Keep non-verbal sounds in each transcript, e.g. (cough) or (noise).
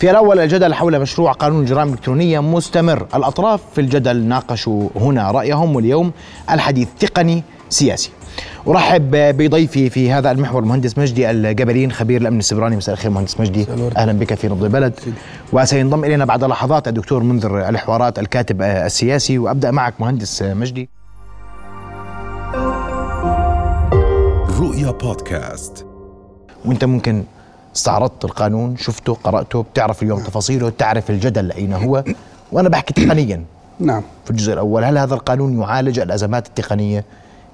في الأول الجدل حول مشروع قانون الجرائم الإلكترونية مستمر الأطراف في الجدل ناقشوا هنا رأيهم واليوم الحديث تقني سياسي أرحب بضيفي في هذا المحور المهندس مجدي الجبلين خبير الأمن السبراني مساء الخير مهندس مجدي أهلا بك في نبض البلد وسينضم إلينا بعد لحظات الدكتور منذر الحوارات الكاتب السياسي وأبدأ معك مهندس مجدي رؤيا بودكاست وانت ممكن استعرضت القانون شفته قراته بتعرف اليوم تفاصيله تعرف الجدل اين هو وانا بحكي تقنيا نعم في الجزء الاول هل هذا القانون يعالج الازمات التقنيه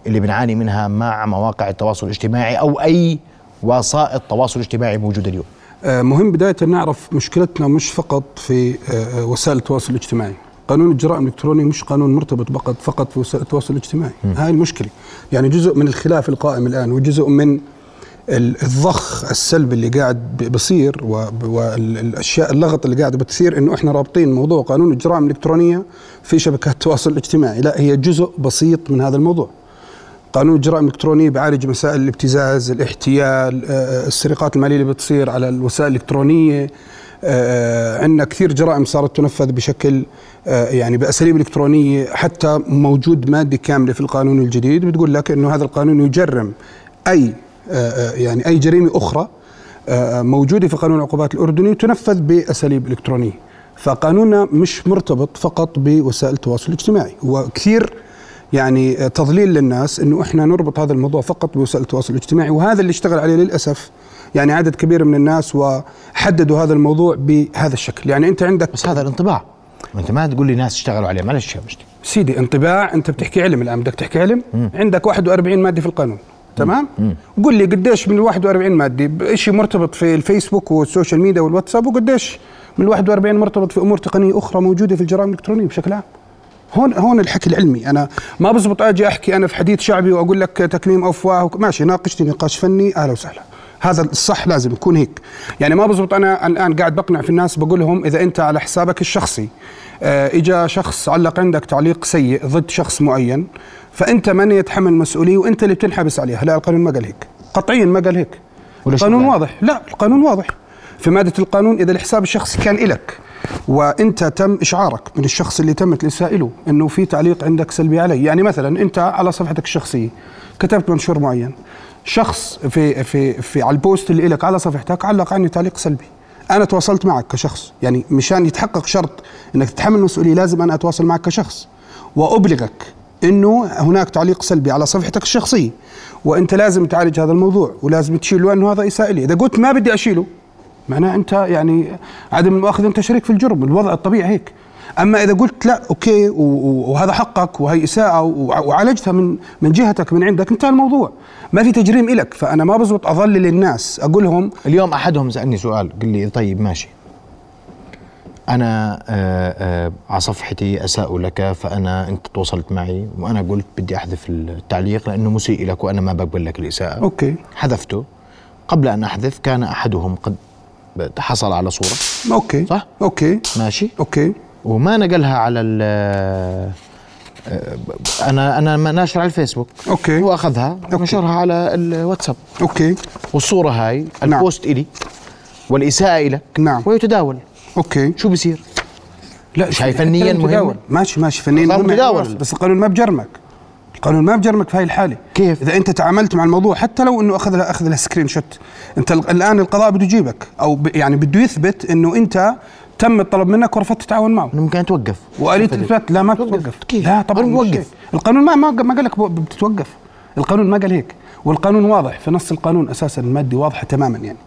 اللي بنعاني منها مع مواقع التواصل الاجتماعي او اي وسائط تواصل اجتماعي موجوده اليوم آه، مهم بداية نعرف مشكلتنا مش فقط في آه، وسائل التواصل الاجتماعي قانون الجرائم الإلكتروني مش قانون مرتبط فقط فقط في وسائل التواصل الاجتماعي هاي المشكلة يعني جزء من الخلاف القائم الآن وجزء من ال- الضخ السلبي اللي قاعد ب- بصير والاشياء اللغط اللي قاعده بتصير انه احنا رابطين موضوع قانون الجرائم الالكترونيه في شبكات التواصل الاجتماعي، لا هي جزء بسيط من هذا الموضوع. قانون الجرائم الإلكترونية بيعالج مسائل الابتزاز الاحتيال آه، السرقات المالية اللي بتصير على الوسائل الإلكترونية آه، عندنا كثير جرائم صارت تنفذ بشكل آه، يعني بأساليب إلكترونية حتى موجود مادة كاملة في القانون الجديد بتقول لك أنه هذا القانون يجرم أي آه، آه، يعني أي جريمة أخرى آه، موجودة في قانون العقوبات الأردني وتنفذ بأساليب إلكترونية فقانوننا مش مرتبط فقط بوسائل التواصل الاجتماعي وكثير يعني تضليل للناس انه احنا نربط هذا الموضوع فقط بوسائل التواصل الاجتماعي وهذا اللي اشتغل عليه للاسف يعني عدد كبير من الناس وحددوا هذا الموضوع بهذا الشكل يعني انت عندك بس هذا الانطباع انت ما تقول لي ناس اشتغلوا عليه معلش يا مجدي سيدي انطباع انت بتحكي علم الان بدك تحكي علم عندك 41 ماده في القانون تمام قل لي قديش من ال 41 ماده شيء مرتبط في الفيسبوك والسوشيال ميديا والواتساب وقديش من ال 41 مرتبط في امور تقنيه اخرى موجوده في الجرائم الالكترونيه بشكل عام هون هون الحكي العلمي انا ما بزبط اجي احكي انا في حديث شعبي واقول لك تكميم افواه وك- ماشي ناقشتي نقاش فني اهلا وسهلا هذا الصح لازم يكون هيك يعني ما بزبط انا الان قاعد بقنع في الناس بقول لهم اذا انت على حسابك الشخصي آه، اجى شخص علق عندك تعليق سيء ضد شخص معين فانت من يتحمل مسؤوليه وانت اللي بتنحبس عليها لا القانون ما قال هيك قطعيا ما قال هيك ولا شو القانون قال؟ واضح لا القانون واضح في ماده القانون اذا الحساب الشخصي كان إلك وانت تم اشعارك من الشخص اللي تمت الاساءه له انه في تعليق عندك سلبي عليه يعني مثلا انت على صفحتك الشخصيه كتبت منشور معين شخص في في في على البوست اللي إلك على صفحتك علق عني تعليق سلبي انا تواصلت معك كشخص يعني مشان يتحقق شرط انك تتحمل المسؤوليه لازم انا اتواصل معك كشخص وابلغك انه هناك تعليق سلبي على صفحتك الشخصيه وانت لازم تعالج هذا الموضوع ولازم تشيله لانه هذا اساءه لي، اذا قلت ما بدي اشيله معناه انت يعني عدم المؤاخذه انت شريك في الجرم، الوضع الطبيعي هيك. اما اذا قلت لا اوكي و- و- وهذا حقك وهي اساءه وع- وعالجتها من من جهتك من عندك انتهى الموضوع، ما في تجريم إلك فانا ما بزبط اظلل الناس اقول لهم اليوم احدهم سالني سؤال قال لي طيب ماشي انا آه، آه، على صفحتي اساء لك فانا انت تواصلت معي وانا قلت بدي احذف التعليق لانه مسيء لك وانا ما بقبل لك الاساءه اوكي حذفته قبل ان احذف كان احدهم قد حصل على صوره اوكي صح. اوكي ماشي اوكي وما نقلها على ال آه، انا انا ما ناشر على الفيسبوك اوكي هو اخذها ونشرها على الواتساب اوكي والصوره هاي البوست الي والاساءه لك نعم. ويتداول اوكي شو بصير؟ لا مش هي فنياً القانون مهمة؟ تداول. ماشي ماشي فنيا القانون مهمة تداول. يعني بس القانون ما بجرمك القانون ما بجرمك في هاي الحاله كيف؟ اذا انت تعاملت مع الموضوع حتى لو انه اخذ لها اخذ لها سكرين شوت انت ال- الان القضاء بده يجيبك او ب يعني بده يثبت انه انت تم الطلب منك ورفضت التعاون معه انه ممكن توقف واليه التثبيت لا ما بتتوقف كيف؟ لا طبعا القانون مش موقف. هيك. القانون ما ما ما قال لك ب- بتتوقف القانون ما قال هيك والقانون واضح في نص القانون اساسا الماده واضحه تماما يعني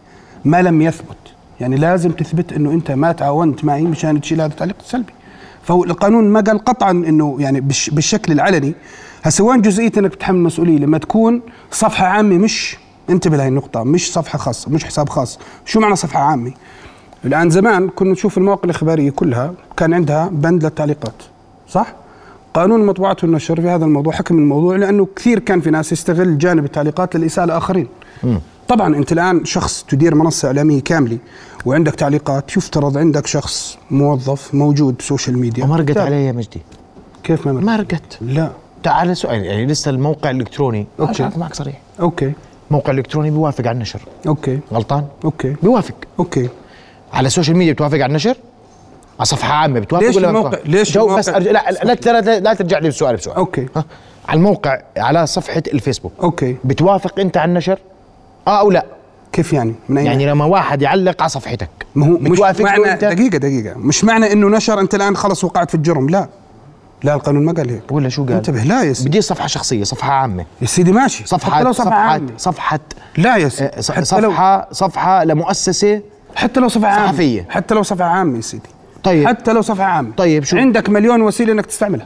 ما لم يثبت يعني لازم تثبت انه انت ما تعاونت معي مشان تشيل هذا التعليق السلبي فهو القانون ما قال قطعا انه يعني بالش بالشكل العلني هسه وين جزئيه انك بتحمل مسؤوليه لما تكون صفحه عامه مش انتبه لهي النقطه مش صفحه خاصه مش حساب خاص شو معنى صفحه عامه الان زمان كنا نشوف المواقع الاخباريه كلها كان عندها بند للتعليقات صح قانون المطبوعات والنشر في هذا الموضوع حكم الموضوع لانه كثير كان في ناس يستغل جانب التعليقات للاساءه لاخرين طبعا انت الان شخص تدير منصه اعلاميه كامله وعندك تعليقات يفترض عندك شخص موظف موجود سوشيال ميديا ومرقت طيب، علي يا مجدي كيف ما مرقت؟ مرقت لا تعال سؤال يعني لسه الموقع الالكتروني أوكي. اوكي معك صريح اوكي موقع الكتروني بيوافق على النشر اوكي غلطان اوكي بيوافق اوكي على السوشيال ميديا بتوافق على النشر؟ على صفحه عامه بتوافق ليش ولا ما الموقع- بتوافق؟ ليش جو الموقع- بس أرجع لا لا- لا ترى- لا, لا ترجع لي بسؤال بسؤال أوكي. ها؟ على الموقع على صفحه الفيسبوك اوكي بتوافق انت على النشر؟ اه او لا؟ كيف يعني؟ من أين؟ يعني لما واحد يعلق على صفحتك ما هو مش بتوافق له معنى انت؟ دقيقة دقيقة مش معنى انه نشر انت الان خلص وقعت في الجرم لا لا القانون ما قال هيك ولا شو قال؟ انتبه لا يا سيدي بدي صفحه شخصيه صفحه عامه يا سيدي ماشي حتى صفحه لو صفحه صفحة صفحه, عامة. صفحة لا يا آه، سيدي ص- حتى لو صفحه صفحه لمؤسسه حتى لو صفحة عامة صحفية. حتى لو صفحة عامة يا سيدي طيب حتى لو صفحة عامة طيب شو؟ عندك مليون وسيلة انك تستعملها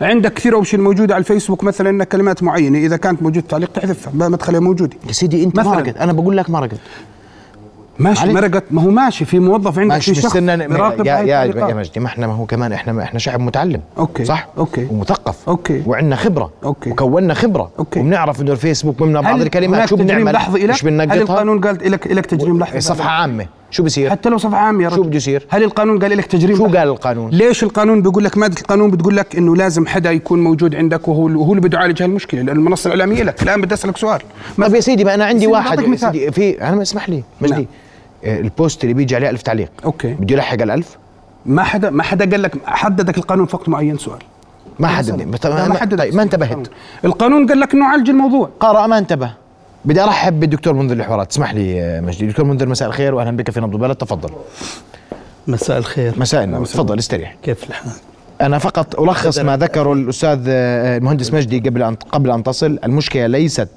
عندك كثير اوبشن موجودة على الفيسبوك مثلا انك كلمات معينة اذا كانت موجودة تعليق تحذفها ما ما تخليها موجودة يا سيدي انت مثلاً. مرقت انا بقول لك مرقت ماشي عليك. مرقت ما هو ماشي في موظف عندك ماشي في شخص مستنى يراقب يا هاي يا التعليقات. يا مجدي ما احنا ما هو كمان احنا ما احنا شعب متعلم أوكي. صح أوكي. ومثقف أوكي. وعندنا خبره أوكي. وكونا خبره أوكي. وبنعرف انه الفيسبوك ممنع بعض هل الكلمات هناك شو تجريم بنعمل لحظي إلك؟ مش هل بننقطها القانون قال لك لك تجريم لحظي صفحه عامه شو بصير حتى لو صفحه عام يا رجل شو بده يصير؟ هل القانون قال لك تجريم شو لحظي؟ قال القانون ليش القانون بيقول لك ماده القانون بتقول لك انه لازم حدا يكون موجود عندك وهو وهو اللي بده يعالج هالمشكله لان المنصه الاعلاميه لك الان بدي اسالك سؤال طب طيب يا سيدي ما انا عندي سيدي واحد بعطيك يا مثال. سيدي في انا ما اسمح لي نعم. مجدي آه، البوست اللي بيجي عليه ألف تعليق أوكي. بده يلحق الألف ما حدا ما حدا قال لك حددك القانون في وقت معين سؤال ما حد لا، ما حددك. طيب ما انتبهت القانون قال لك انه عالج الموضوع قارئ ما انتبه بدي ارحب بالدكتور منذر الحوارات اسمح لي آه، مجدي دكتور منذر مساء الخير واهلا بك في نبض البلد تفضل مساء الخير مساء النور تفضل استريح كيف الحال؟ انا فقط الخص ما ذكره الاستاذ آه، المهندس مجدي قبل ان قبل ان تصل المشكله ليست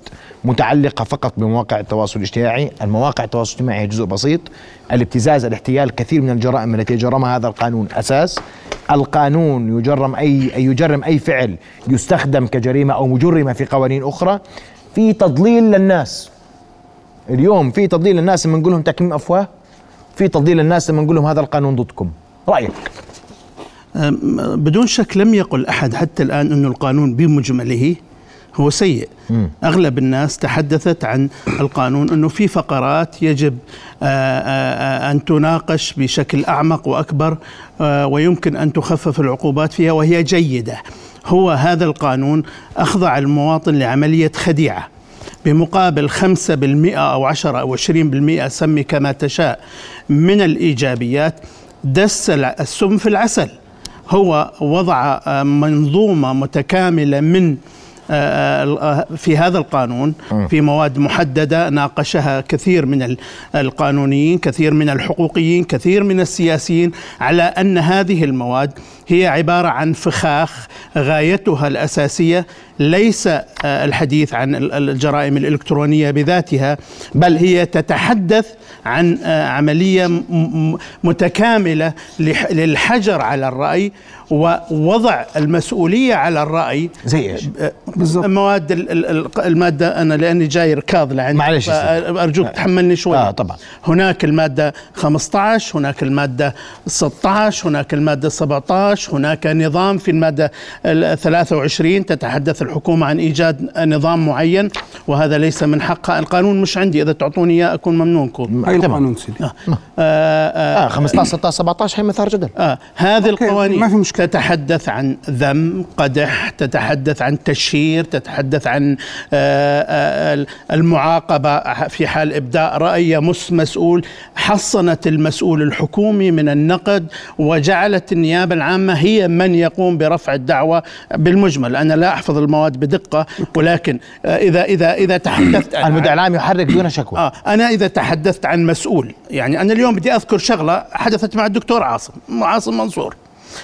متعلقه فقط بمواقع التواصل الاجتماعي المواقع التواصل الاجتماعي هي جزء بسيط الابتزاز الاحتيال كثير من الجرائم التي يجرمها هذا القانون اساس القانون يجرم اي أي- يجرم اي فعل يستخدم كجريمه او مجرمه في قوانين اخرى في تضليل للناس اليوم في تضليل للناس لما نقول لهم تكميم افواه في تضليل للناس لما نقول لهم هذا القانون ضدكم رايك أم- بدون شك لم يقل أحد حتى الآن أن القانون بمجمله هو سيء أغلب الناس تحدثت عن القانون أنه في فقرات يجب آه، آه، آه، أن تناقش بشكل أعمق وأكبر آه، ويمكن أن تخفف العقوبات فيها وهي جيدة هو هذا القانون أخضع المواطن لعملية خديعة بمقابل 5% أو 10 أو 20% سمي كما تشاء من الإيجابيات دس الع- السم في العسل هو وضع آه، منظومة متكاملة من آه، آه، في هذا القانون في مواد محددة ناقشها كثير من ال- القانونيين كثير من الحقوقيين كثير من السياسيين على أن هذه المواد هي عبارة عن فخاخ غايتها الأساسية ليس آه، الحديث عن ال- الجرائم الإلكترونية بذاتها بل هي تتحدث عن آه، عملية م- م- متكاملة لح- للحجر على الرأي ووضع المسؤولية على الرأي زي ايش؟ بالضبط المواد ال- ال- ال- الماده انا لاني جاي ركاض لعندي معلش يا سيدي. ارجوك تحملني شوي آه، طبعاً. هناك الماده 15 هناك الماده 16 هناك الماده 17 هناك نظام في الماده ال- 23 تتحدث الحكومه عن ايجاد نظام معين وهذا ليس من حقها القانون مش عندي اذا تعطوني اياه اكون ممنونكم هاي تمام. القانون سيدي اه 15 16 17 هي مثار جدل آه أوكي، هذه القوانين ما في مشكلة. تتحدث عن ذم قدح تتحدث عن تشهير تتحدث عن آه، آه، ال- المعاقبة في حال إبداء رأي مس مسؤول حصنت المسؤول الحكومي من النقد وجعلت النيابة العامة هي من يقوم برفع الدعوة بالمجمل أنا لا أحفظ المواد بدقة ولكن آه، إذا إذا إذا (clears throat) تحدثت آه، عن- المدعي العام يحرك دون شكوى آه أنا إذا تحدثت عن مسؤول يعني أنا اليوم بدي أذكر شغلة حدثت مع الدكتور عاصم عاصم منصور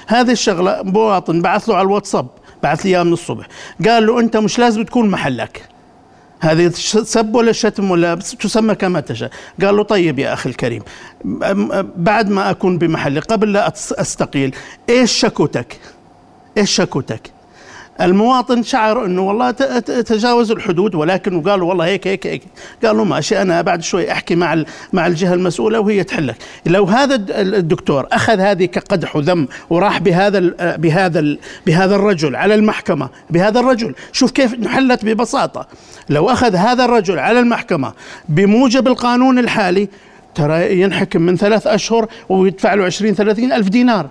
هذه الشغلة مواطن بعث له على الواتساب بعث لي إياها من الصبح قال له أنت مش لازم تكون محلك هذه ش- سب ولا شتم ولا بس تسمى كما تشاء قال له طيب يا أخي الكريم أم- أم- بعد ما أكون بمحلي قبل لا أتس- أستقيل إيش شكوتك إيش شكوتك المواطن شعر انه والله ت- ت- تجاوز الحدود ولكن قالوا والله هيك هيك هيك قالوا ماشي انا بعد شوي احكي مع ال- مع الجهه المسؤوله وهي تحلك لو هذا الد- ال- الدكتور اخذ هذه كقدح وذم وراح بهذا ال آه، بهذا ال بهذا الرجل على المحكمه بهذا الرجل شوف كيف انحلت ببساطه لو اخذ هذا الرجل على المحكمه بموجب القانون الحالي ترى ينحكم من ثلاث اشهر ويدفع له 20 30 الف دينار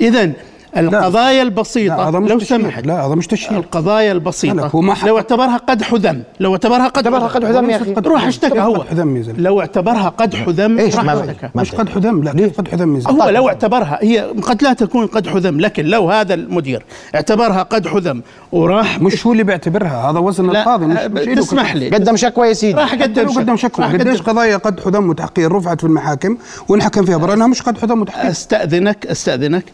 اذا القضايا البسيطة هذا مش لو تشهير. سمحت لا هذا مش تشهير القضايا لا، البسيطة هو ما حط- لو اعتبرها قدح ذم لو اعتبرها قدح اعتبرها قدح ذم يا أخي. روح اشتكى هو قدح ذم يا زلمة. لو اعتبرها قدح ذم إيش راح ما- اشتكى ما- مش قدح دم لا ليه قدح دم يا زلمة؟ هو لو اعتبرها هي قد لا تكون قدح ذم لكن لو هذا المدير اعتبرها قدح ذم وراح مش هو اللي بيعتبرها هذا وزن لا القاضي مش مش أه، إيده كده. تسمح لي قدم شكوى يا سيدي راح قدم لو قدم شكوى راح قديش قدم- قضايا قدح ودم وتحقير رفعت في المحاكم وانحكم فيها برا انها مش قدح ودم وتحقير استاذنك استاذنك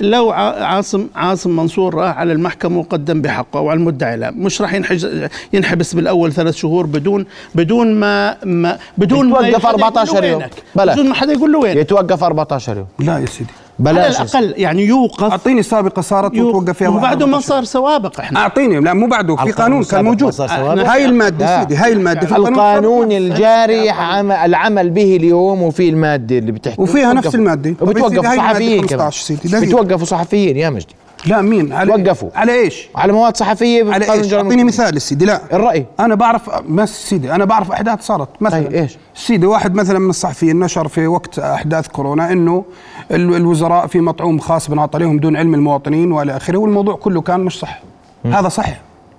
لو ع- عاصم عاصم منصور راح على المحكمه وقدم بحقه وعلى المدعي له مش راح ينحج ينحبس بالاول ثلاث شهور بدون بدون ما, ما بدون ما يتوقف حدا يقول له 14 يوم. وينك. بلى. بدون ما حدا يقول له وين يتوقف 14 يوم لا يا سيدي على بلاش الاقل يعني يوقف اعطيني سابقه صارت وتوقف فيها واحد وبعده ما وعشرة. صار سوابق احنا اعطيني لا مو بعده في القانون قانون كان السابق ما موجود صار سوابق. هاي الماده لا. يا سيدي هاي الماده في القانون السابق. الجاري عم- العمل به اليوم وفيه الماده اللي بتحكي وفيها بتوقف- نفس المادة. طب يا سيدي، وبتوقف هاي المادة صحفيين كمان 15 سيدي، دقيقة. بتوقفوا صحفيين يا مجدي لا مين على وقفوا. على ايش؟ على مواد صحفيه على بالقانون ايش؟ الجرائم اعطيني مثال يا سيدي لا الرأي. انا بعرف بس سيدي انا بعرف احداث صارت مثلا طيب، إيش؟ سيدي واحد مثلا من الصحفيين نشر في وقت احداث كورونا انه ال- الوزراء في مطعوم خاص بنعطى عليهم دون علم المواطنين والى اخره والموضوع كله كان مش صح هذا صح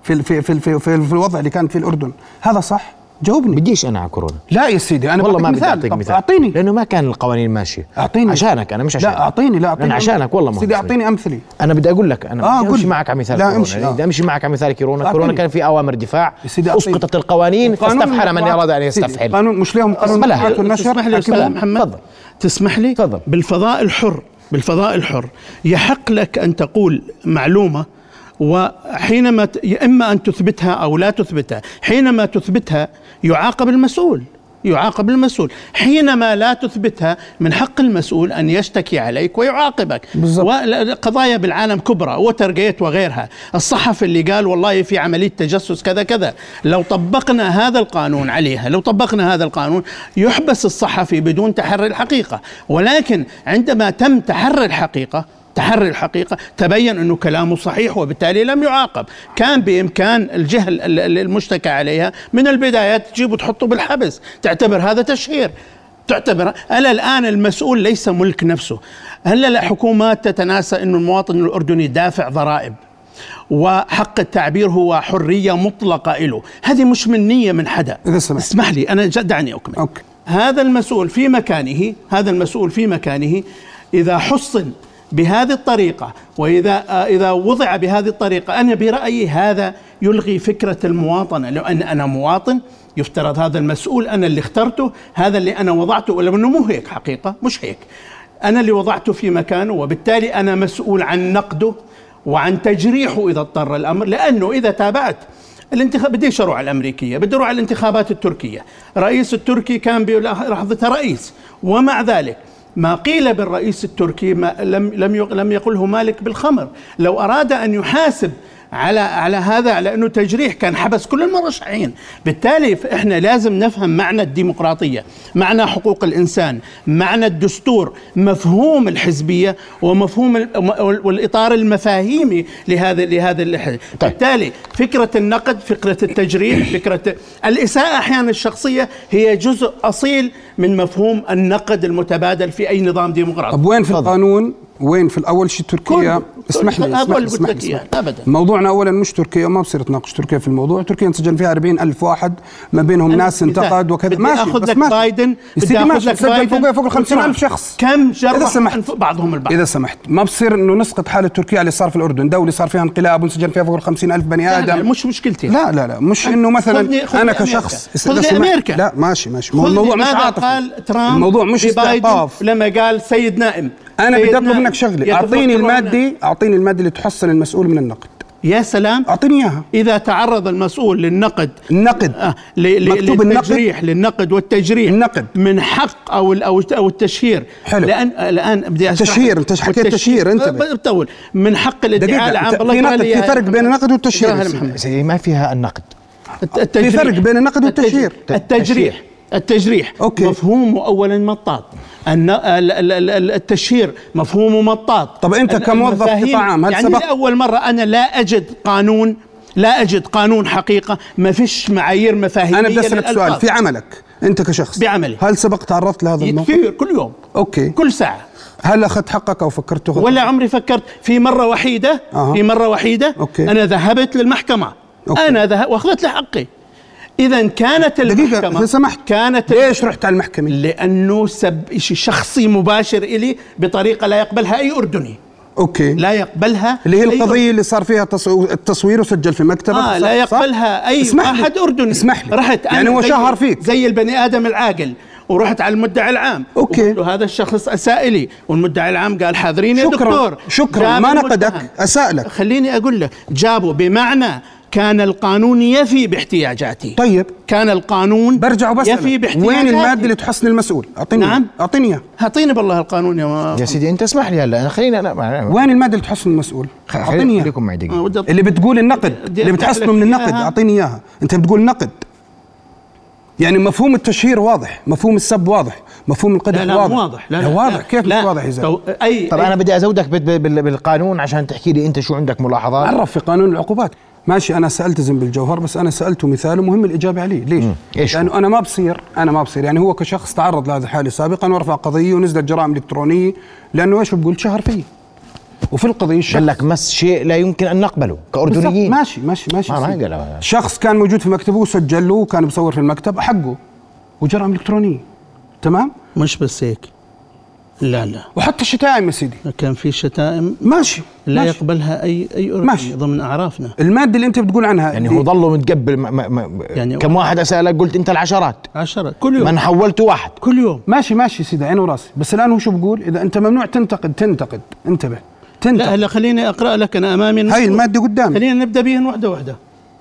في ال- في في في, في, في الوضع اللي كان في الاردن هذا صح جاوبني بديش انا على كورونا لا يا سيدي انا والله ما بعطيك بدي اعطيك طب مثال اعطيني لانه ما كان القوانين ماشيه اعطيني عشانك انا مش عشانك لا اعطيني لا انا اعطيني عشانك والله ما سيدي هو اعطيني امثله انا بدي اقول لك انا آه، بدي قول امشي لي. معك على مثال لا، كورونا امشي، آه. بدي امشي معك على مثال كورونا كورونا أعطيني. كان في اوامر دفاع يا سيدي أعطيني. اسقطت القوانين القانون فاستفحل من مطبوعات- اراد ان سيدي، يستفحل قانون مش لهم قانون أسمح لها. مطبوعات والنشر تسمح لي استاذ حكموا. محمد تفضل. تسمح لي تفضل. بالفضاء الحر بالفضاء الحر يحق لك ان تقول معلومه وحينما ت... يا اما ان تثبتها او لا تثبتها حينما تثبتها يعاقب المسؤول يعاقب المسؤول حينما لا تثبتها من حق المسؤول أن يشتكي عليك ويعاقبك بالضبط. وقضايا بالعالم كبرى ووتر جيت وغيرها الصحفي اللي قال والله في عملية تجسس كذا كذا لو طبقنا هذا القانون عليها لو طبقنا هذا القانون يحبس الصحفي بدون تحري الحقيقة ولكن عندما تم تحري الحقيقة تحري الحقيقة تبين أنه كلامه صحيح وبالتالي لم يعاقب كان بإمكان الجهة ال- ال- المشتكى عليها من البداية تجيبه تحطه بالحبس تعتبر هذا تشهير تعتبر ألا الآن المسؤول ليس ملك نفسه هلا الحكومات تتناسى أن المواطن الأردني دافع ضرائب وحق التعبير هو حرية مطلقة له هذه مش منية من حدا إذا سمحت. اسمح لي أنا جد دعني أكمل أوكي. هذا المسؤول في مكانه هذا المسؤول في مكانه إذا حصن بهذه الطريقة وإذا آه، إذا وضع بهذه الطريقة أنا برأيي هذا يلغي فكرة المواطنة لأن أنا مواطن يفترض هذا المسؤول أنا اللي اخترته هذا اللي أنا وضعته ولو أنه مو هيك حقيقة مش هيك أنا اللي وضعته في مكانه وبالتالي أنا مسؤول عن نقده وعن تجريحه إذا اضطر الأمر لأنه إذا تابعت الانتخاب بديش اروح على الامريكيه، بدي اروح على الانتخابات التركيه، رئيس التركي كان بلحظته رئيس ومع ذلك ما قيل بالرئيس التركي ما لم لم يق- لم يقله مالك بالخمر، لو اراد ان يحاسب على على هذا على انه تجريح كان حبس كل المرشحين، بالتالي فاحنا لازم نفهم معنى الديمقراطيه، معنى حقوق الانسان، معنى الدستور، مفهوم الحزبيه ومفهوم ال- والاطار المفاهيمي لهذا لهذا الحزب. طيب. بالتالي فكرة النقد (coughs) فكرة التجريح فكرة الإساءة أحيانا الشخصية هي جزء أصيل من مفهوم النقد المتبادل في أي نظام ديمقراطي طب وين في تفضل. القانون؟ وين في الاول شيء تركيا؟ كله. اسمح لي هذا اسمح لي اللي اسمح قلت لك لي إياه، اسمح لي. أبداً. موضوعنا اولا مش تركيا ما بصير تناقش تركيا في الموضوع، تركيا انسجن فيها 40 الف واحد ما بينهم أنا ناس مثال. انتقد وكذا بدي آخذ بس لك ماشي. بايدن، يا بدي سيدي آخذ ماشي، لك سجل بايدن فوق فوق ال 50 الف وسرعة. شخص كم جرح اذا سمحت أنف- بعضهم البعض. اذا سمحت ما بصير انه نسقط حاله تركيا على اللي صار في الاردن، دوله صار فيها انقلاب وانسجن فيها فوق ال 50 الف بني لا، لا، ادم مش مشكلتي لا لا لا مش انه مثلا خذني- خذني انا أمريكا. كشخص خذني إذا سمحت- أمريكا. لا ماشي ماشي خذ الموضوع مش لماذا عاطفي قال ترامب الموضوع مش لبايدن استعطاف لما قال سيد نائم انا سيد بدي اطلب نائم منك شغله يتفكر اعطيني الماده عنه. اعطيني الماده اللي تحصن المسؤول من النقد يا سلام اعطيني اياها إذا تعرض المسؤول للنقد النقد آه، ل- ل- مكتوب النقد للتجريح للنقد والتجريح النقد. من حق او ال- او او التشهير حلو. لان الان بدي أشرح تشهير، لك. أنت حكيت والتشهير- تشهير، انتبه. أه، بطول من حق دقيقة، الادعاء العام في والله نقد، اقرأ لي في إياها فرق يا بين محمد. النقد والتشهير. اقرأها يا محمد. سيدي، ما فيها النقد الت- التجريح. فرق بين النقد والتشهير. التج- التجريح التجريح أوكي. مفهومه اولا مطاط الن- ال- ال- ال- التشهير مفهومه مطاط طب أنت ال- كموظف المفاهيم- قطاع عام، هل يعني سبق- لأول مرة أنا لا أجد قانون لا أجد قانون حقيقة ما فيش معايير مفاهيمية انا بدي اسالك للألفاظ. سؤال في عملك انت كشخص بعملي. هل سبق تعرضت لهذا الموقف؟ كثير كل يوم اوكي كل ساعة هل اخذت حقك او فكرت تاخذ ولا عمري فكرت في مرة وحيدة أها. في مرة وحيدة أوكي. أنا ذهبت للمحكمة أوكي. أنا ذهب وأخذت لي حقي إذا كانت المحكمة دقيقة إذا سمحت كانت ليش رحت على المحكمة؟ لأنه سب شيء شخصي مباشر إلي بطريقة لا يقبلها أي أردني اوكي لا أيوة. يقبلها اللي هي أي القضية اللي صار فيها تصو- التصوير وسجل في مكتبك اه لا صح؟ يقبلها اي اسمح لي. احد اردني اسمح لي رحت أنا يعني هو زي- شهر فيك زي البني ادم العاقل ورحت على المدعي العام أوكي. وقلت له هذا الشخص اساء لي والمدعي العام قال حاضرين يا شكراً. دكتور شكراً. جاب ما المتهم. نقدك، أساء لك. خليني اقول لك جابوا بمعنى كان القانون يفي باحتياجاتي طيب كان القانون برجع وبسألك يفي باحتياجاتي وين المادة اللي تحسن المسؤول؟ اعطيني نعم. إياها. اعطيني اياها اعطيني بالله القانون يا ما يا سيدي انت اسمح لي هلا أنا خليني انا ما- آه. وين المادة اللي تحسن المسؤول؟ اعطيني خليني اياها خليكم معي آه، دقيقه ودي أط- اللي بتقول النقد بدي اللي بتحسنه من أدخلك النقد إياها. اعطيني اياها انت بتقول نقد يعني مفهوم التشهير واضح مفهوم السب واضح مفهوم القدح لا لا واضح مو واضح لا, واضح كيف مش واضح يا زلمه تو- اي طب إيه؟ أي- انا بدي ازودك بال- بال- بالقانون عشان تحكي لي انت شو عندك ملاحظات عرف في قانون العقوبات ماشي انا سالتزم بالجوهر بس انا سالته مثال ومهم الاجابه عليه ليش إيش هو؟ لانه انا ما بصير انا ما بصير يعني هو كشخص تعرض لهذه الحاله سابقا ورفع قضيه ونزلت جرائم الكترونيه لانه ايش بقول شهر فيه وفي القضيه الشخص قال لك مس شيء لا يمكن ان نقبله بالضبط، كاردنيين ماشي ماشي ماشي ما- ما سيدي. قال- شخص كان موجود في مكتبه وسجل له وكان مصور في المكتب حقه وجرائم الكترونيه تمام مش بس هيك لا لا وحتى الشتائم يا سيدي كان في شتائم ماشي لا ماشي. يقبلها اي اي اردني ماشي. ضمن اعرافنا الماده اللي انت بتقول عنها يعني اللي- هو ضله متقبل ما ما ما يعني- يعني كم واحد اسالك قلت انت العشرات عشرة كل أيوه. يوم من حولته واحد كل يوم ماشي ماشي سيدي عيني وراسي بس الان هو شو بقول اذا انت ممنوع تنتقد تنتقد انتبه لا تنتقد هلا خليني اقرا لك انا هاي امامي المسؤول. الماده قدامي خلينا نبدا بهن واحده واحده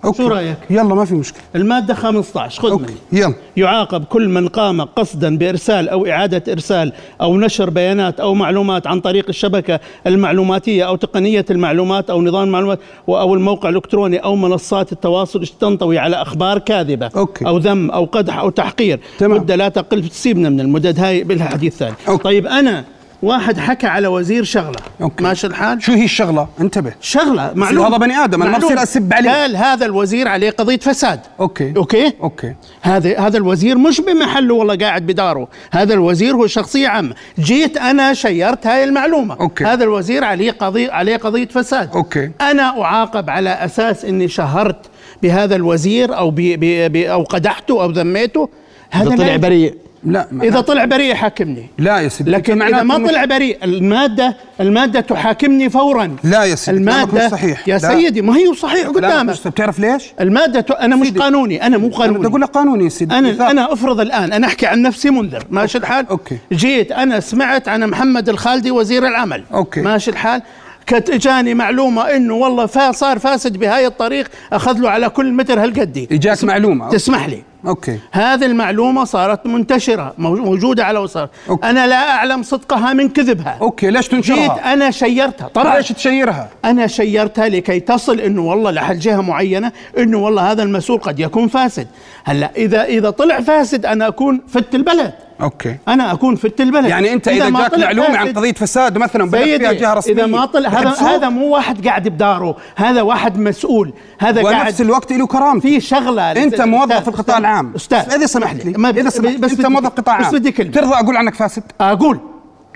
أوكي. شو رأيك؟ يلا ما في مشكله الماده 15 خذ اوكي مني يلا يعاقب كل من قام قصدا بارسال او اعاده ارسال او نشر بيانات او معلومات عن طريق الشبكه المعلوماتيه او تقنيه المعلومات او نظام المعلومات او الموقع الالكتروني او منصات التواصل تنطوي على اخبار كاذبه أوكي. او ذم او قدح او تحقير تمام. مده لا تقل تسيبنا من المدد هاي بالها حديث ثاني أوكي. طيب انا واحد حكى على وزير شغله أوكي. ماشي الحال شو هي الشغله انتبه شغله معلومه هذا بني آدم، أنا ما معلومة. بصير أسب عليه. إيه. قال هذا الوزير عليه قضيه فساد اوكي اوكي اوكي هذا هذا الوزير مش بمحله والله قاعد بداره هذا الوزير هو شخصية عامة جيت أنا شيرت هاي المعلومة أوكي. هذا الوزير عليه قضية عليه قضية فساد أوكي. أنا أعاقب على أساس إني شهرت بهذا الوزير أو بي بي بي أو قدحته أو ذميته هذا اذا لا طلع يمكن. بريء لا ما- إذا طلع بريء حاكمني لا يا سيدي لكن معناته إذا ما مش- طلع بريء المادة المادة تحاكمني فورا لا يا سيدي كلامك المادة مش صحيح يا لا. سيدي ما هي صحيح كلامك قدامك مش- بتعرف ليش؟ المادة ت- أنا مش سيدي. قانوني أنا مو انا بدي قانوني اقول لك قانوني يا سيدي انا بالضبط. انا افرض الان انا احكي عن نفسي منذر ماشي الحال أوكي. جيت انا سمعت عن محمد الخالدي وزير العمل أوكي. ماشي الحال كانت اجاني معلومه انه والله فا صار فاسد بهاي الطريق اخذ له على كل متر هالقدي اجاك معلومه تسمح لي اوكي هذه المعلومه صارت منتشره مو- موجوده على وسائل أوكي. انا لا اعلم صدقها من كذبها اوكي ليش جيت تنشرها؟ انا شيرتها طبعا ليش تشيرها؟ انا شيرتها لكي تصل انه والله لحل جهه معينه انه والله هذا المسؤول قد يكون فاسد هلا اذا اذا طلع فاسد انا اكون فت البلد اوكي انا اكون فت البلد يعني انت اذا ما جاك طلع معلومه عن فاسد- قضيه فساد مثلا بلغت فيها سيدي جهه رسميه اذا ما طلع هذا يحبسوك؟ هذا مو واحد قاعد بداره هذا واحد مسؤول هذا قاعد ونفس الوقت له كرامته في شغله انت أستاذ- موظف في أستاذ- القطاع العام استاذ اذا سمحت لي ما ب- اذا سمحت بس بس انت بدي- موظف قطاع عام بس بدي كلمه ترضى اقول عنك فاسد؟ اقول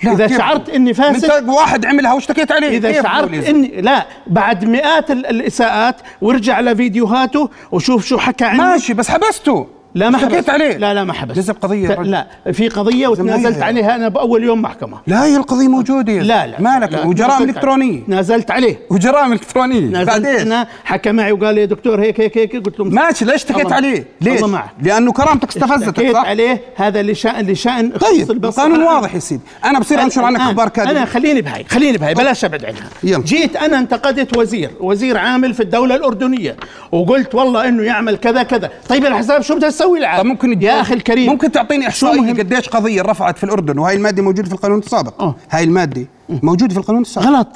لا، اذا كيف؟ شعرت اني فاسد انت واحد عملها واشتكيت عليه اذا كيف شعرت تقول لي زي؟ اني لا بعد مئات ال- الاساءات وارجع لفيديوهاته وشوف شو حكى عنه ماشي بس حبسته لا ما اشتكيت حبست عليه لا لا ما حبست جزء قضيه ت- يا رجل. لا في قضيه وتنازلت زمايلها. عليها انا باول يوم محكمه لا هي القضيه موجوده يا لا زلمة. لا مالك لا، وجرائم نازلت الكترونيه عليه. نازلت عليه وجرائم الكترونيه نازلت بعدين انا حكى معي وقال لي يا دكتور هيك هيك هيك قلت له ماشي ليش اشتكيت الله- عليه؟ ليش؟ الله نعم. معك لانه كرامتك استفزتك اشتكيت صح؟ عليه هذا لشان لشان اختص طيب البصر القانون على- واضح يا سيدي انا بصير انشر عنك الآن اخبار انا كاذبه خليني بهاي خليني بهاي بلاش ابعد عنها يلا. جيت انا انتقدت وزير وزير عامل في الدوله الاردنيه وقلت والله انه يعمل كذا كذا طيب الحساب شو بدها تسوي العالم طب طيب، ممكن يا اخي الكريم ممكن تعطيني شو احصائيه مهم؟ قديش قضيه رفعت في الاردن وهي الماده موجوده في القانون السابق آه. هاي الماده موجوده في القانون السابق غلط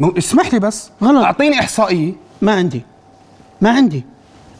مو... اسمح لي بس غلط. اعطيني احصائيه ما عندي ما عندي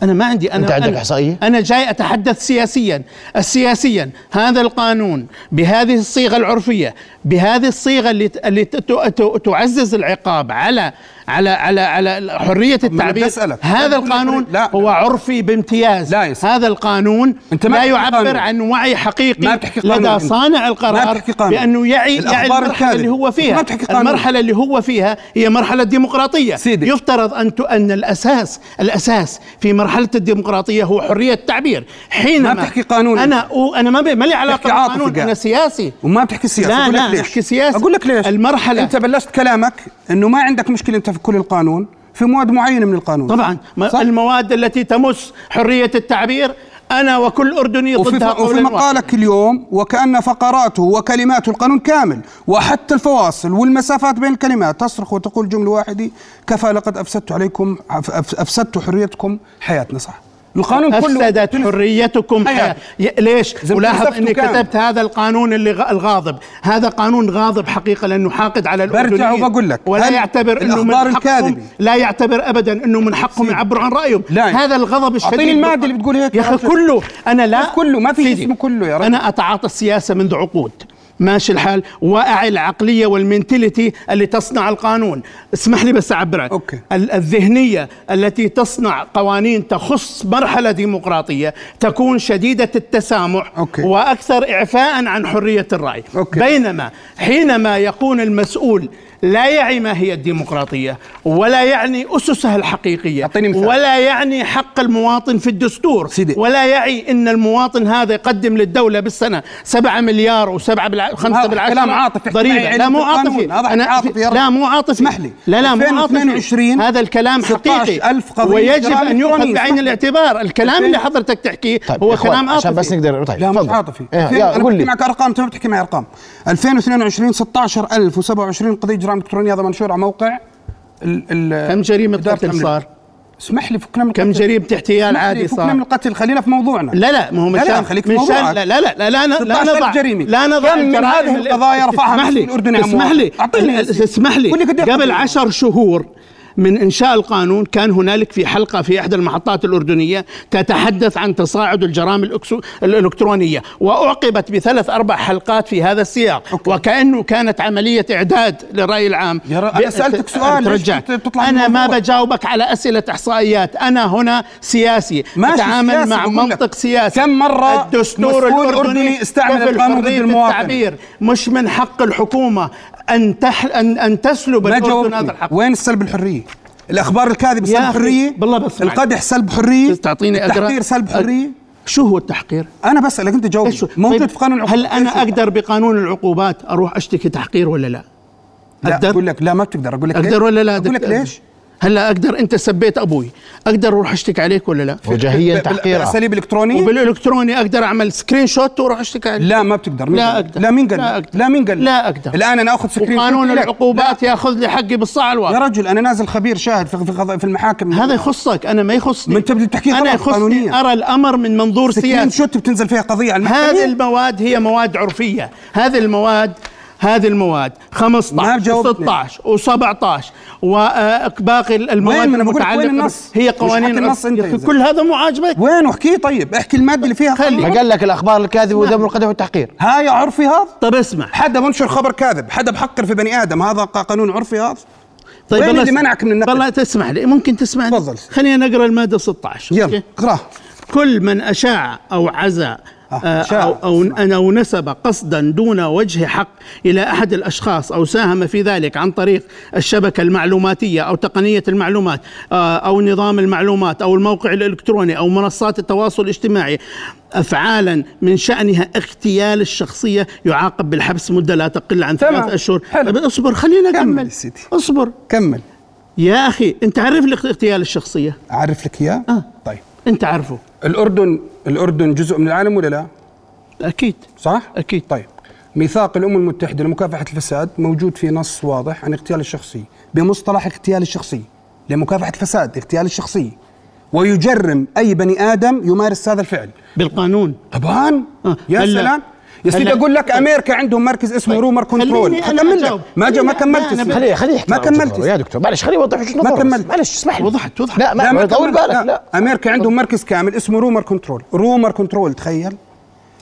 انا ما عندي انا أنت عندك أنا- إحصائية؟ انا جاي اتحدث سياسيا السياسيا هذا القانون بهذه الصيغه العرفيه بهذه الصيغه اللي ت- اللي ت- ت- ت- تعزز العقاب على على على على حريه أنا بدي التعبير أسألك. أنا هذا بدي القانون أقول- لا. هو عرفي بامتياز لا يا سيدي. هذا القانون أنت ما لا بتحكي قانون. يعبر عن وعي ما حقيقي بتحكي قانون لدى أنت. صانع ما القرار بتحكي قانون. بانه يعي يعي الأخبار المرحله اللي الكاذبة. هو أنت ما فيها بتحكي قانون. المرحله اللي هو فيها هي مرحله ديمقراطيه سيدي. يفترض ان ت- ان الاساس الاساس في مرحله الديمقراطيه هو حريه التعبير ما حينما بتحكي قانون انا أو- انا ما بي- ما لي بتحكي علاقه عاطفي بالقانون قاعد. انا سياسي وما بتحكي سياسه لا أقول لا لك ليش نحكي سياسي اقول لك ليش المرحله انت بلشت كلامك انه ما عندك مشكله انت في كل القانون في مواد معينه من القانون طبعا صح؟ ما المواد التي تمس حريه التعبير انا وكل اردني وفي, ضدها ف... وفي قولا واحدا. مقالك اليوم وكأن فقراته وكلماته القانون كامل وحتى الفواصل والمسافات بين الكلمات تصرخ وتقول جملة واحدة كفى لقد أفسدت عليكم أف- أف- أفسدت حريتكم حياتنا صح القانون كله افسدت حريتكم حياة. حياة. ي- ليش زي ما ولاحظ فلسفته اني كان. كتبت هذا القانون اللي غ- الغاضب هذا قانون غاضب حقيقه لانه حاقد على الاردنيين وبقول لك، ولا هل يعتبر انه من الأخبار حقهم الكاذبة؟ لا يعتبر ابدا انه من حقهم سيدي. يعبروا عن رايهم لا. هذا الغضب الشديد أعطيني المادة بالق- اللي بتقول هيك يا يا اخي رجل. كله انا لا بس كله، ما في سيدي، اسمه كله يا رجل. انا اتعاطى السياسه منذ عقود ماشي الحال واعي العقليه والمنتاليتي اللي تصنع القانون اسمح لي بس اعبر عنك أوكي. ال- الذهنية التي تصنع قوانين تخص مرحلة ديمقراطية تكون شديدة التسامح أوكي. وأكثر إعفاء عن حرية الرأي أوكي. بينما حينما يكون المسؤول لا يعي ما هي الديمقراطية ولا يعني أسسها الحقيقية أعطيني مثال. ولا يعني حق المواطن في الدستور سيدي. ولا يعي أن المواطن هذا يقدم للدولة بالسنة 7 مليار و7 بالع... 5 هذا بالعشرة كلام عاطفي. ضريبة يعني لا مو بالقانون. عاطفي هذا عاطفي يا رجل. لا مو عاطفي اسمح لي. لا لا مو عاطفي 2022 هذا الكلام حقيقي 16,000 قضية ويجب جرائم ان يؤخذ إلكترونية. بعين الاعتبار الكلام اللي حضرتك تحكيه طيب هو إخوان، كلام عاطفي عشان بس نقدر طيب لا مش تفضل. عاطفي إيه، ألفين- يا قول أنا بحكي لي معك ارقام انت ما بتحكي معي ارقام 2022 16027 قضيه جرائم الكترونيه هذا منشور على موقع ال ال كم جريمه إدارة قتل الأمن. صار اسمح لي فكنا من كم القتل. جريمه اغتيال اسمح لي، عادي فكنا من صار القتل خلينا في موضوعنا لا لا ما هو لا، مشان لا، خليك في مشان موضوعك. لا لا لا لا لا, لا, لا 16,000 نضع جريمة. لا نضع كم من الجرائم هذه ال- القضايا رفعها اسمح لي الأردن عموما؟ اسمح لي أعطيني يا سيدي. اسمح لي قول لي قد إيه قبل قضية؟ عشر شهور من انشاء القانون كان هنالك في حلقه في احدى المحطات الاردنيه تتحدث عن تصاعد الجرائم الأكسو- الالكترونيه واعقبت بثلاث اربع حلقات في هذا السياق أوكي. وكانه كانت عمليه اعداد للراي العام يا رأ- أنا ب- سألتك سؤال، ليش ترجعت. بت- بتطلع من انا ما الموضوع؟ بجاوبك على اسئله احصائيات انا هنا سياسي ماشي اتعامل سياسي، مع بقول لك. منطق سياسي كم مرة الدستور مسؤول الاردني أردني استعمل كفل القانون ضد حرية المواطن؟ التعبير مش من حق الحكومه ان تح ان ان تسلب ما الاردن هذا جاوبتني الحق وين السلب الحريه الاخبار الكاذبه يا سلب أخي، حريه بالله بس معك. القدح سلب حريه تعطيني أقرأ- التحقير سلب أ- حريه شو هو التحقير؟ انا بسالك انت جاوب إيش هو؟ موجود طيب، في قانون العقوبات هل انا اقدر بقانون العقوبات اروح اشتكي تحقير ولا لا؟ لا أقدر؟ اقول لك لا ما بتقدر اقول لك ليش؟ اقدر ولا لا؟ اقول لك دكتور؟ ليش؟ هلا اقدر انت سبيت ابوي اقدر اروح اشتكي عليك ولا لا؟ وجهيا بال- بال- تحقيرها بالاساليب الالكترونيه وبالالكتروني اقدر اعمل سكرين شوت واروح اشتكي عليك لا ما بتقدر مين لا قال؟ أقدر. لا مين قال لا لا, أقدر. لا مين قال لا أقدر. الان انا اخذ سكرين وقانون شوت لك. العقوبات ياخذ لي حقي بالصاع لا. يا الواقع رجل انا نازل خبير شاهد في في, قضاء- في المحاكم هذا يخصك انا ما يخصني ما أنت بتحكي انا طبعاً يخصني قانونية. ارى الامر من منظور سكرين سياسي شوت بتنزل فيها قضيه على هذه المحكمة. المواد هي مواد عرفيه هذه المواد هذه المواد 15 و جاوبتني. 16 و17 آه، وباقي المواد وين؟ أنا بقول لك المتعلقة وين ب- النص؟ هي مش حتى قوانين النص عرف- أنت يا أخي، إذا. كل هذا مو عاجبك وين احكي طيب احكي الماده اللي فيها خلي. ما قانون. قال لك الاخبار الكاذبه نعم. ودم القدح والتحقير هاي عرفي هذا طب طيب، اسمع حدا منشر خبر كاذب حدا بحقر في بني ادم هذا ق- قانون عرفي هذا وين طيب والله اللي اسمع. منعك من النقد؟ والله تسمح لي ممكن تسمح لي تفضل. خلينا نقرا الماده 16 يلا أوكي؟ اقراه كل من أشاع أو عزى آه، آه، شاع. أو أو أو نسب قصدا دون وجه حق إلى أحد الأشخاص أو ساهم في ذلك عن طريق الشبكة المعلوماتية أو تقنية المعلومات آه، أو نظام المعلومات أو الموقع الإلكتروني أو منصات التواصل الاجتماعي أفعالا من شأنها اغتيال الشخصية يعاقب بالحبس مدة لا تقل عن تمام. ثلاث أشهر حلو. طيب اصبر خلينا كمل أكمل يا سيدي. اصبر كمل يا أخي أنت عرف لي اغتيال الشخصية اعرف لك اياه آه. طيب أنت عارفه الاردن الاردن جزء من العالم ولا لا أكيد صح أكيد طيب ميثاق الامم المتحده لمكافحه الفساد موجود فيه نص واضح عن اغتيال الشخصي بمصطلح اغتيال الشخصي لمكافحه الفساد اغتيال الشخصي ويجرم اي بني ادم يمارس هذا الفعل بالقانون طبعا آه، يا هلا. سلام يصير هلا- اقول لك امريكا عندهم مركز اسمه طيب. رومر كنترول خليني أنا كملنا أجاوب. ما جا ما خليني- كملت لا، أنا اسمه. خليه خليه يحكي ما عن كملت تجربة. يا دكتور معلش خليه يوضح وجهه نظره كملت. معلش اسمح لي وضحت- وضحت. لا لا، ما طول كملت. بالك لا امريكا عندهم مركز كامل اسمه رومر كنترول رومر كنترول تخيل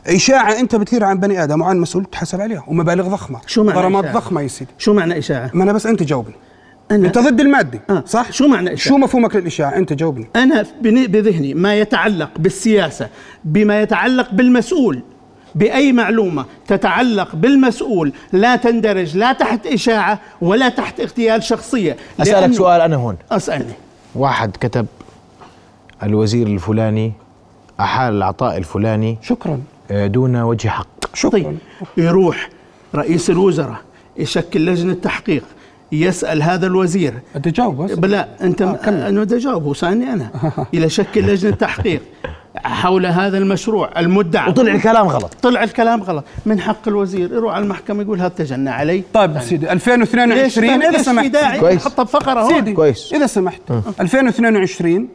اشاعه انت بتثير عن بني ادم وعن مسؤول تحاسب عليها ومبالغ ضخمه شو معنى غرامات إشاعة؟ ضخمه يا سيدي شو معنى إشاعة؟ ما انا بس انت جاوبني أنا انت ضد الماده آه. صح شو معنى إشاعة؟ شو مفهومك للاشاعه انت جاوبني أنا بن- بذهني ما يتعلق بالسياسة بما يتعلق بالمسؤول بأي معلومة تتعلق بالمسؤول لا تندرج لا تحت إشاعة ولا تحت اغتيال شخصية اسالك لأنه- سؤال انا هون أسألني واحد كتب الوزير الفلاني احال العطاء الفلاني شكرا آه، دون وجه حق شكرا طيب يروح رئيس الوزراء يشكل لجنة تحقيق يسأل هذا الوزير انت جاوب بس بلا انت آه، كمل. آه انا بدي اجاوبه سألني انا (laughs) الى شكل لجنه تحقيق حول هذا المشروع المدعى وطلع الكلام غلط طلع الكلام غلط من حق الوزير يروح على المحكمه يقول هذا تجنى علي طيب سيدي ليش 2022 اذا ليش في سمحت داعي آه. كويس. نحطها بفقره سيدي هون كويس. اذا سمحت 2022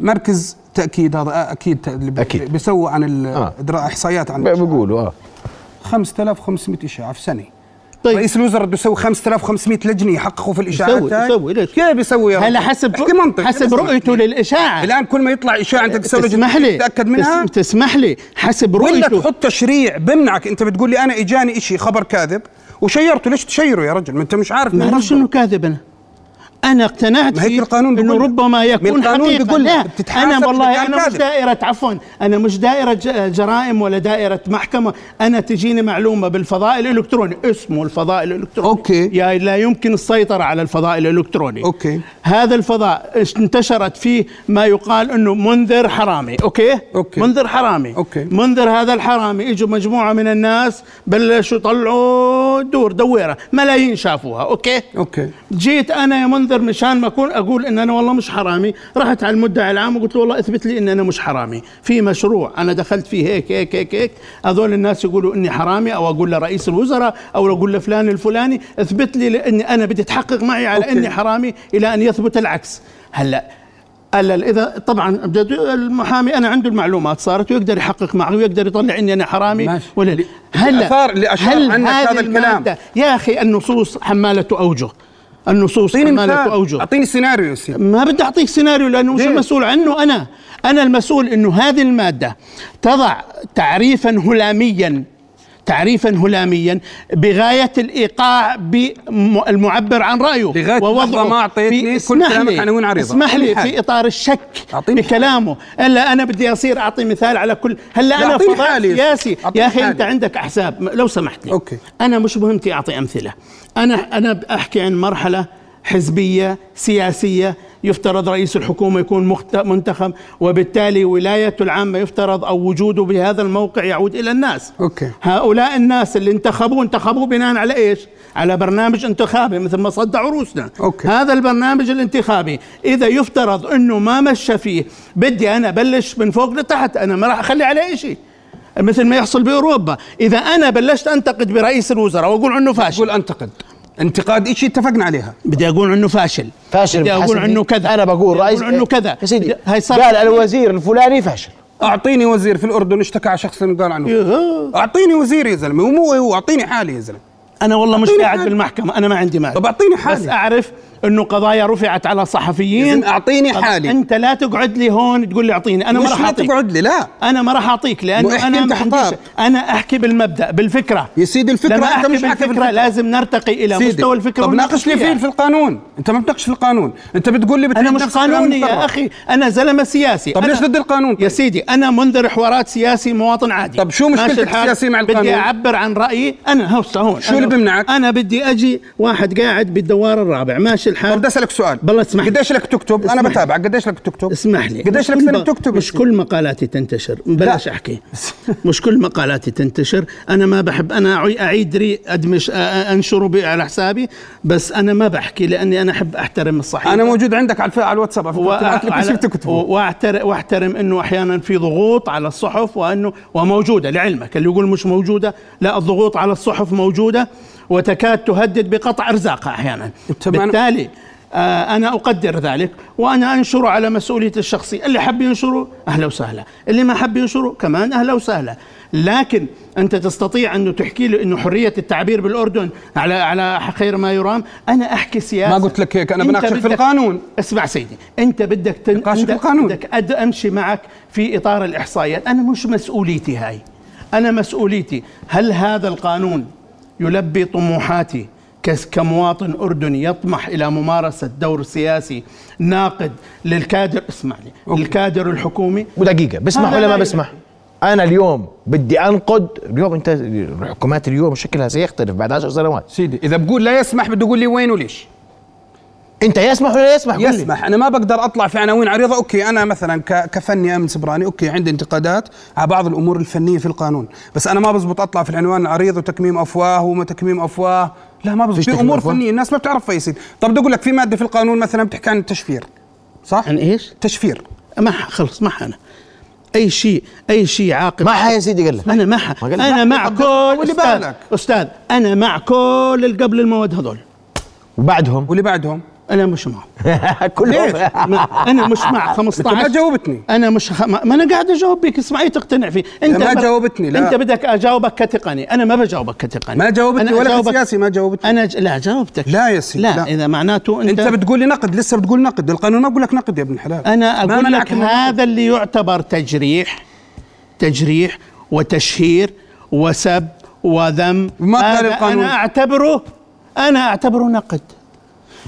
مركز تاكيد هذا اكيد أكيد. اكيد بيسووا عن ال- آه. إدراء احصائيات عن ب- بقولوا اه 5500 اشاعه في سنه طيب. رئيس الوزراء بده يسوي 5500 لجنه يحققوا في الاشاعات يسوي- هاي. يسوي، ليش؟ كيف بيسوي يا رب؟ هلا حسب احكي منطق حسب رؤيته للاشاعه الان كل ما يطلع اشاعه انت تسوي تسمح لجنه لي تتاكد منها تس- تسمح لي حسب ولا رؤيته تحط تشريع بمنعك انت بتقول لي انا اجاني شيء خبر كاذب وشيرته ليش تشيره يا رجل ما انت مش عارف ما مين اعرفش مصدره. انه كاذب انا انا اقتنعت نعم. ما هيك فيه القانون انه بيقول- ربما ما يكون القانون حقيقة. بيقول لا بتتحاسب إذا انا والله كان انا مش كاذب. دائره عفوا انا مش دائره ج- جرائم ولا دائره محكمه انا تجيني معلومه بالفضاء الالكتروني اسمه الفضاء الالكتروني أوكي. يا لا يمكن السيطره على الفضاء الالكتروني أوكي. هذا الفضاء اش- انتشرت فيه ما يقال انه منذر حرامي اوكي أوكي. منذر حرامي أوكي. منذر هذا الحرامي اجوا مجموعه من الناس بلشوا يطلعوا دور دويره ملايين شافوها اوكي اوكي جيت انا يا منذر مشان ما اكون اقول ان انا والله مش حرامي رحت على المدعي العام وقلت له والله اثبت لي ان انا مش حرامي في مشروع انا دخلت فيه هيك هيك هيك هيك هذول الناس يقولوا اني حرامي او اقول لرئيس الوزراء او اقول لفلان الفلاني اثبت لي لاني انا بدي تحقق معي على أوكي. اني حرامي الى ان يثبت العكس هلا الا اذا طبعا بدي- المحامي انا عنده المعلومات صارت ويقدر يحقق معي ويقدر يطلع اني انا حرامي ماشي. ولا لا هلا الآثار اللي أشار عنك هذه هذا الكلام؟ المادة- يا اخي النصوص حماله اوجه النصوص اعطيني حماله مثال اوجه اعطيني سيناريو يا سيدي ما بدي اعطيك سيناريو لانه مش ليه؟ المسؤول عنه انا انا المسؤول انه هذه الماده تضع تعريفا هلاميا تعريفا هلاميا بغايه الايقاع بالمعبر عن رايه لغاية اللحظة ووضعه ما أعطيتني في- كل اسمح كلامك لي- عناوين عريضة. اسمح لي أعطيني في حال. اطار الشك أعطيني حال. بكلامه الا انا بدي اصير اعطي مثال على كل هلا لا، انا أعطيني فضاء حالي يا سياسي أخي. أعطيني يا اخي انت حالي. عندك احزاب لو سمحت لي أوكي. انا مش مهمتي اعطي امثله انا انا احكي عن مرحله حزبيه سياسيه يفترض رئيس الحكومه يكون مخت- منتخب وبالتالي ولايته العامه يفترض او وجوده بهذا الموقع يعود الى الناس أوكي. هؤلاء الناس اللي انتخبوه انتخبوه بناء على ايش على برنامج انتخابي مثل ما صدعوا روسنا أوكي. هذا البرنامج الانتخابي اذا يفترض انه ما مشى فيه بدي انا بلش من فوق لتحت انا ما راح اخلي عليه شيء مثل ما يحصل باوروبا اذا انا بلشت انتقد برئيس الوزراء واقول عنه فاشل قول انتقد انتقاد شيء اتفقنا عليها بدي اقول عنه فاشل فاشل بدي اقول بحسب عنه مين؟ كذا انا بقول بدي رئيس إيه؟ اقول عنه كذا يا سيدي بدي- هاي صار قال الوزير الفلاني فاشل اعطيني وزير في الاردن اشتكى على شخص اللي قال عنه يهو. اعطيني وزير يا زلمه ومو هو اعطيني حالي يا زلمه انا والله مش أعطيني قاعد حالي. بالمحكمه انا ما عندي مال طب اعطيني بس حالي اعرف انه قضايا رفعت على صحفيين إذن أعطيني طب حالي. انت لا تقعد لي هون تقول لي اعطيني انا ما مش راح ما اعطيك تقعد لي لا انا ما راح اعطيك مو لانه احكي انا انت ما عنديش حطاب. انا احكي بالمبدا بالفكره يا سيدي الفكره لما انت احكي مش حاكي بالفكره لازم نرتقي الى سيدي. مستوى الفكره طب ناقش لي فيه والنقد في القانون انت ما بتناقش في القانون انت بتقول لي بتعيد انا مش نفس الكلام قانوني من برا. يا اخي انا زلمه سياسي طب أنا- ليش ضد القانون يا طيب؟ سيدي انا منذر حوارات سياسي مواطن عادي طب شو ماشي مشكلتك الحال؟ السياسية مع بدي القانون؟ اعبر عن رايي انا هسه هون شو اللي أنا- بمنعك؟ انا بدي اجي واحد قاعد بالدوار الرابع ماشي الحال طب بدي اسالك سؤال بالله اسمح لي. قديش لك تكتب انا اسمح لي. بتابعك قديش لك تكتب اسمح لي قديش مش لك كل سنه م- تكتب مش كل مقالاتي تنتشر بلاش احكي مش كل مقالاتي تنتشر انا ما بحب انا أعي- اعيد ري ادمش أ- أ- انشره ب- على حسابي بس انا ما بحكي لاني انا احب احترم الصحيفه انا موجود عندك على الفئه على الواتساب على فكرة، بتبعت لك كل شيء بتكتبه واحترم واحترم انه احيانا في ضغوط على الصحف وانه وموجوده لعلمك اللي يقول مش موجوده لا الضغوط على الصحف موجوده وتكاد تهدد بقطع ارزاقها احيانا أنت ما- بالتالي آه، انا اقدر ذلك وانا انشره على مسؤوليتي الشخصيه اللي حب ينشره اهلا وسهلا اللي ما حب ينشره كمان اهلا وسهلا لكن انت تستطيع انه تحكي له انه حريه التعبير بالاردن على على خير ما يرام انا احكي سياسه ما قلت لك هيك، أنا أنت بناقشك في بدك- القانون. اسمع سيدي انت بدك تن... نقاشك بدك- القانون. بدك أد... امشي معك في اطار الاحصائيات انا مش مسؤوليتي هاي انا مسؤوليتي هل هذا القانون يلبي طموحاتي كس- كمواطن اردني يطمح الى ممارسه دور سياسي ناقد للكادر اسمعني أوكي. الكادر الحكومي ودقيقه بسمح هذا ولا ما لا بسمح انا اليوم بدي انقد اليوم انت الحكومات اليوم شكلها سيختلف بعد عشر سنوات سيدي اذا بقول لا يسمح بده يقول لي وين وليش انت يسمح ولا يسمح قل لي. يسمح انا ما بقدر اطلع في عناوين عريضه اوكي انا مثلا ك- كفني امن سبراني اوكي عندي انتقادات على بعض الامور الفنيه في القانون بس انا ما بزبط اطلع في العنوان العريض وتكميم افواه وما تكميم افواه لا ما بزبط فيش في تكميم امور أفواه؟ فنيه الناس ما بتعرفها يا سيدي طب بدي اقول لك في ماده في القانون مثلا بتحكي عن التشفير صح عن إيه؟ ايش؟ تشفير ما ح- خلص ما انا اي شيء اي شيء عاقل ما حا يا سيدي قال لك انا ما ح- ما قال لك. انا مع حقك. كل واللي استاذ بالك. استاذ انا مع كل اللي قبل المواد هذول وبعدهم (laughs) واللي بعدهم انا مش معهم كلهم ما- انا مش مع انت ما 15 جاوبتني انا مش خ... ما ما انا قاعد اجاوب بك اسمعي تقتنع فيه انت ما جاوبتني، لا. انت بدك اجاوبك كتقني انا ما بجاوبك كتقني ما جاوبتني أنا ولا في أجاوبك- سياسي ما جاوبتني انا ج... لا جاوبتك لا يا سيدي، لا, لا. لا. اذا معناته انت, انت بتقول لي نقد لسه بتقول نقد القانون ما بقول لك نقد يا ابن الحلال انا ما اقول منعك لك من النقد. هذا اللي يعتبر تجريح تجريح وتشهير وسب وذم ما قال هذا القانون. انا اعتبره انا اعتبره نقد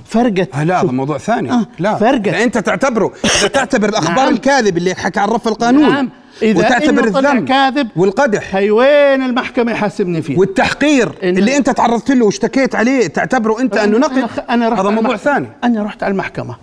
فرقت آه لا شوف، هذا موضوع ثاني آه، لا فرقت. لا، انت تعتبره اذا تعتبر الاخبار نعم. الكاذب اللي حكى عن رفع القانون نعم اذا وتعتبر وتعتبر طلع الذنب كاذب والقدح هي وين المحكمه يحاسبني فيه والتحقير إن- اللي انت تعرضت له واشتكيت عليه تعتبره انت انه أنا نقد خ- انا رحت هذا على موضوع المحكمة. ثاني انا رحت على المحكمه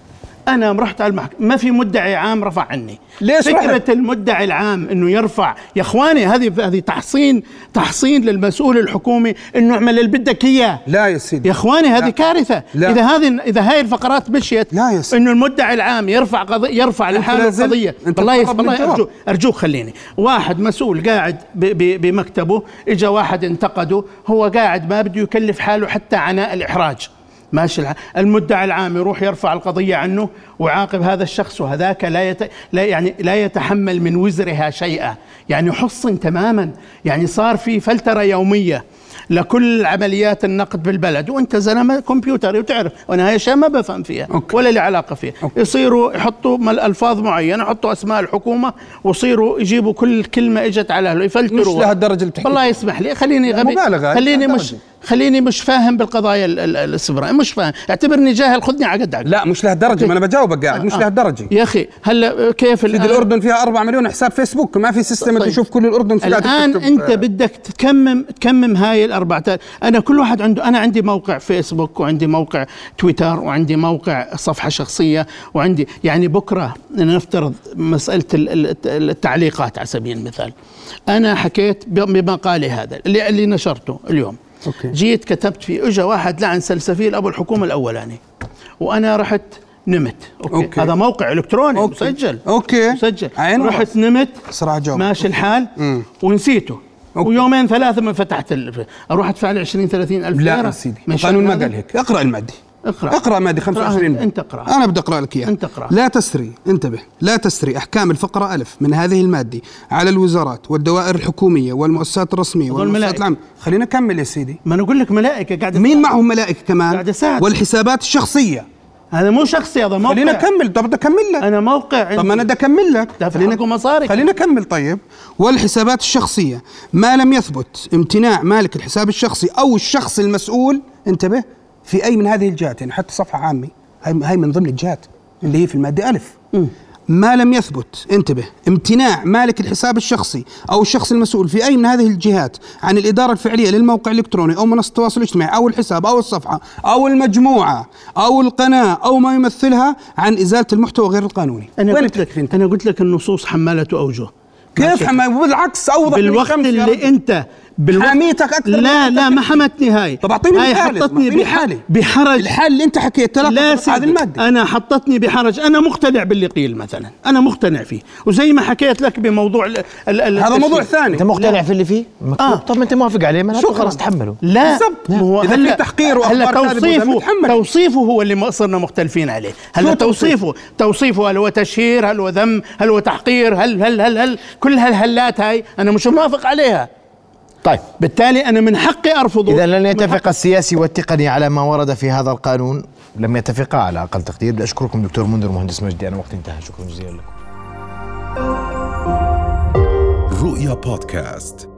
انا رحت على المحكمه ما في مدعي عام رفع عني ليش فكره رحت؟ المدعي العام انه يرفع يا اخواني هذه هذه تحصين تحصين للمسؤول الحكومي انه اعمل اللي بدك اياه لا يا سيدي يا اخواني هذه لا. كارثه لا. اذا هذه اذا هاي الفقرات مشيت لا يا سيدي. انه المدعي العام يرفع قضية يرفع لحاله لازلت- القضيه أنت والله يس- طلب من والله الجواب. ارجوك ارجوك خليني واحد مسؤول قاعد ب ب بمكتبه اجى واحد انتقده هو قاعد ما بده يكلف حاله حتى عناء الاحراج ماشي الع- المدعي العام يروح يرفع القضيه عنه ويعاقب هذا الشخص وهذاك لا, يت... لا يعني لا يتحمل من وزرها شيئا يعني حصن تماما يعني صار في فلتره يوميه لكل عمليات النقد بالبلد وانت زلمه كمبيوتري وتعرف وانا هاي اشياء ما بفهم فيها أوكي. ولا لي علاقه فيها أوكي. يصيروا يحطوا مل- الفاظ معينه يحطوا اسماء الحكومه ويصيروا يجيبوا كل كلمه اجت على اهله يفلتروا مش لهالدرجة اللي بتحكي والله يسمح لي خليني غبي مبالغة هاي، خليني مش لهالدرجة. خليني مش فاهم بالقضايا ال- ال- السبراء مش فاهم اعتبرني جاهل خذني على قدك لا مش لهالدرجه ما انا بجاوبك قاعد مش آه. لهالدرجه يا اخي هلا كيف سيدي الآن- الاردن فيها 4 مليون حساب فيسبوك ما في سيستم طيب. تشوف كل الاردن شو قاعد الان تكتب. انت بدك تكمم تكمم هاي ال4000 انا كل واحد عنده انا عندي موقع فيسبوك وعندي موقع تويتر وعندي موقع صفحه شخصيه وعندي يعني بكره نفترض مساله ال- ال- التعليقات على سبيل المثال انا حكيت ب- بمقالي هذا اللي, اللي نشرته اليوم أوكي. جيت كتبت فيه اجى واحد لعن سلسفيل ابو الحكومه الاولاني وانا رحت نمت أوكي. أوكي. أوكي. هذا موقع الكتروني أوكي. مسجل أوكي. مسجل عين رحت ورأس. نمت بسرعة جاوب. ماشي الحال مم. ونسيته أوكي. أوكي. ويومين ثلاثة ما فتحت ال... أروح أدفع لي 20 30 ألف لا ليرة يا سيدي من القانون ما شأن قال هذا؟ هيك اقرا المادي اقرا اقرا مادي 25 اقرأها. انت اقرا انا بدي اقرا لك اياها انت اقرأها. لا تسري انتبه لا تسري احكام الفقره ألف من هذه الماده على الوزارات والدوائر الحكوميه والمؤسسات الرسميه هذول والمؤسسات ملائكة. العامه خلينا نكمل يا سيدي ما أنا أقول لك ملائكة قاعدة مين معهم ملائكة كمان قاعد أساعد. والحسابات الشخصية هذا مو شخصي هذا موقع خلينا نكمل طب بدي اكمل لك أنا موقع عندي. طب ما انا بدي اكمل لك دافع خلينا عنكم مصاري. خلينا اكمل طيب والحسابات الشخصيه ما لم يثبت امتناع مالك الحساب الشخصي او الشخص المسؤول انتبه في اي من هذه الجهات يعني حتى صفحه عامه هاي هاي من ضمن الجهات اللي هي في الماده الف ما لم يثبت انتبه امتناع مالك الحساب الشخصي او الشخص المسؤول في اي من هذه الجهات عن الاداره الفعليه للموقع الالكتروني او منصه التواصل الاجتماعي او الحساب او الصفحه او المجموعه او القناه او ما يمثلها عن ازاله المحتوى غير القانوني أنا وين قلت لك التكفي انت؟ أنا قلت لك النصوص حمالة أوجه كيف حما بالعكس اوضح من بالوقت الشمس يا اللي رجل. انت بالوقت حاميتك اكثر من لا لا حاميتك. ما حمتني هاي طب أعطيني هاي مثال، حطتني أعطيني بح- حالي. بحرج الحل اللي انت حكيت لا تلقى هذه سيدي. الماده انا حطتني بحرج انا مقتنع باللي قيل مثلا انا مقتنع فيه وزي ما حكيت لك بموضوع ال ال ال هذا موضوع ثاني انت مقتنع في اللي فيه؟ مكتوب آه. طب ما انت موافق عليه ما لا شكراً. خلاص تحمله لا بالضبط. ما هو إذا هلا- في تحقير وأخبار هلا كاذبة وذنب، توصيفه تحمل. توصيفه هو اللي ما صرنا مختلفين عليه شو هلا توصيف؟ توصيفه توصيفه هل هو تشهير هل هو ذم هل هو تحقير هل هل هل هل كل هالهلات هاي انا مش موافق عليها طيب بالتالي انا من حقي ارفضه إذا لن من يتفق السياسي والتقني على ما ورد في هذا القانون لم يتفقا على أقل تقدير بدي أشكركم دكتور منذر مهندس مجدي أنا وقتي انتهى شكرا جزيلا لكم رؤيا بودكاست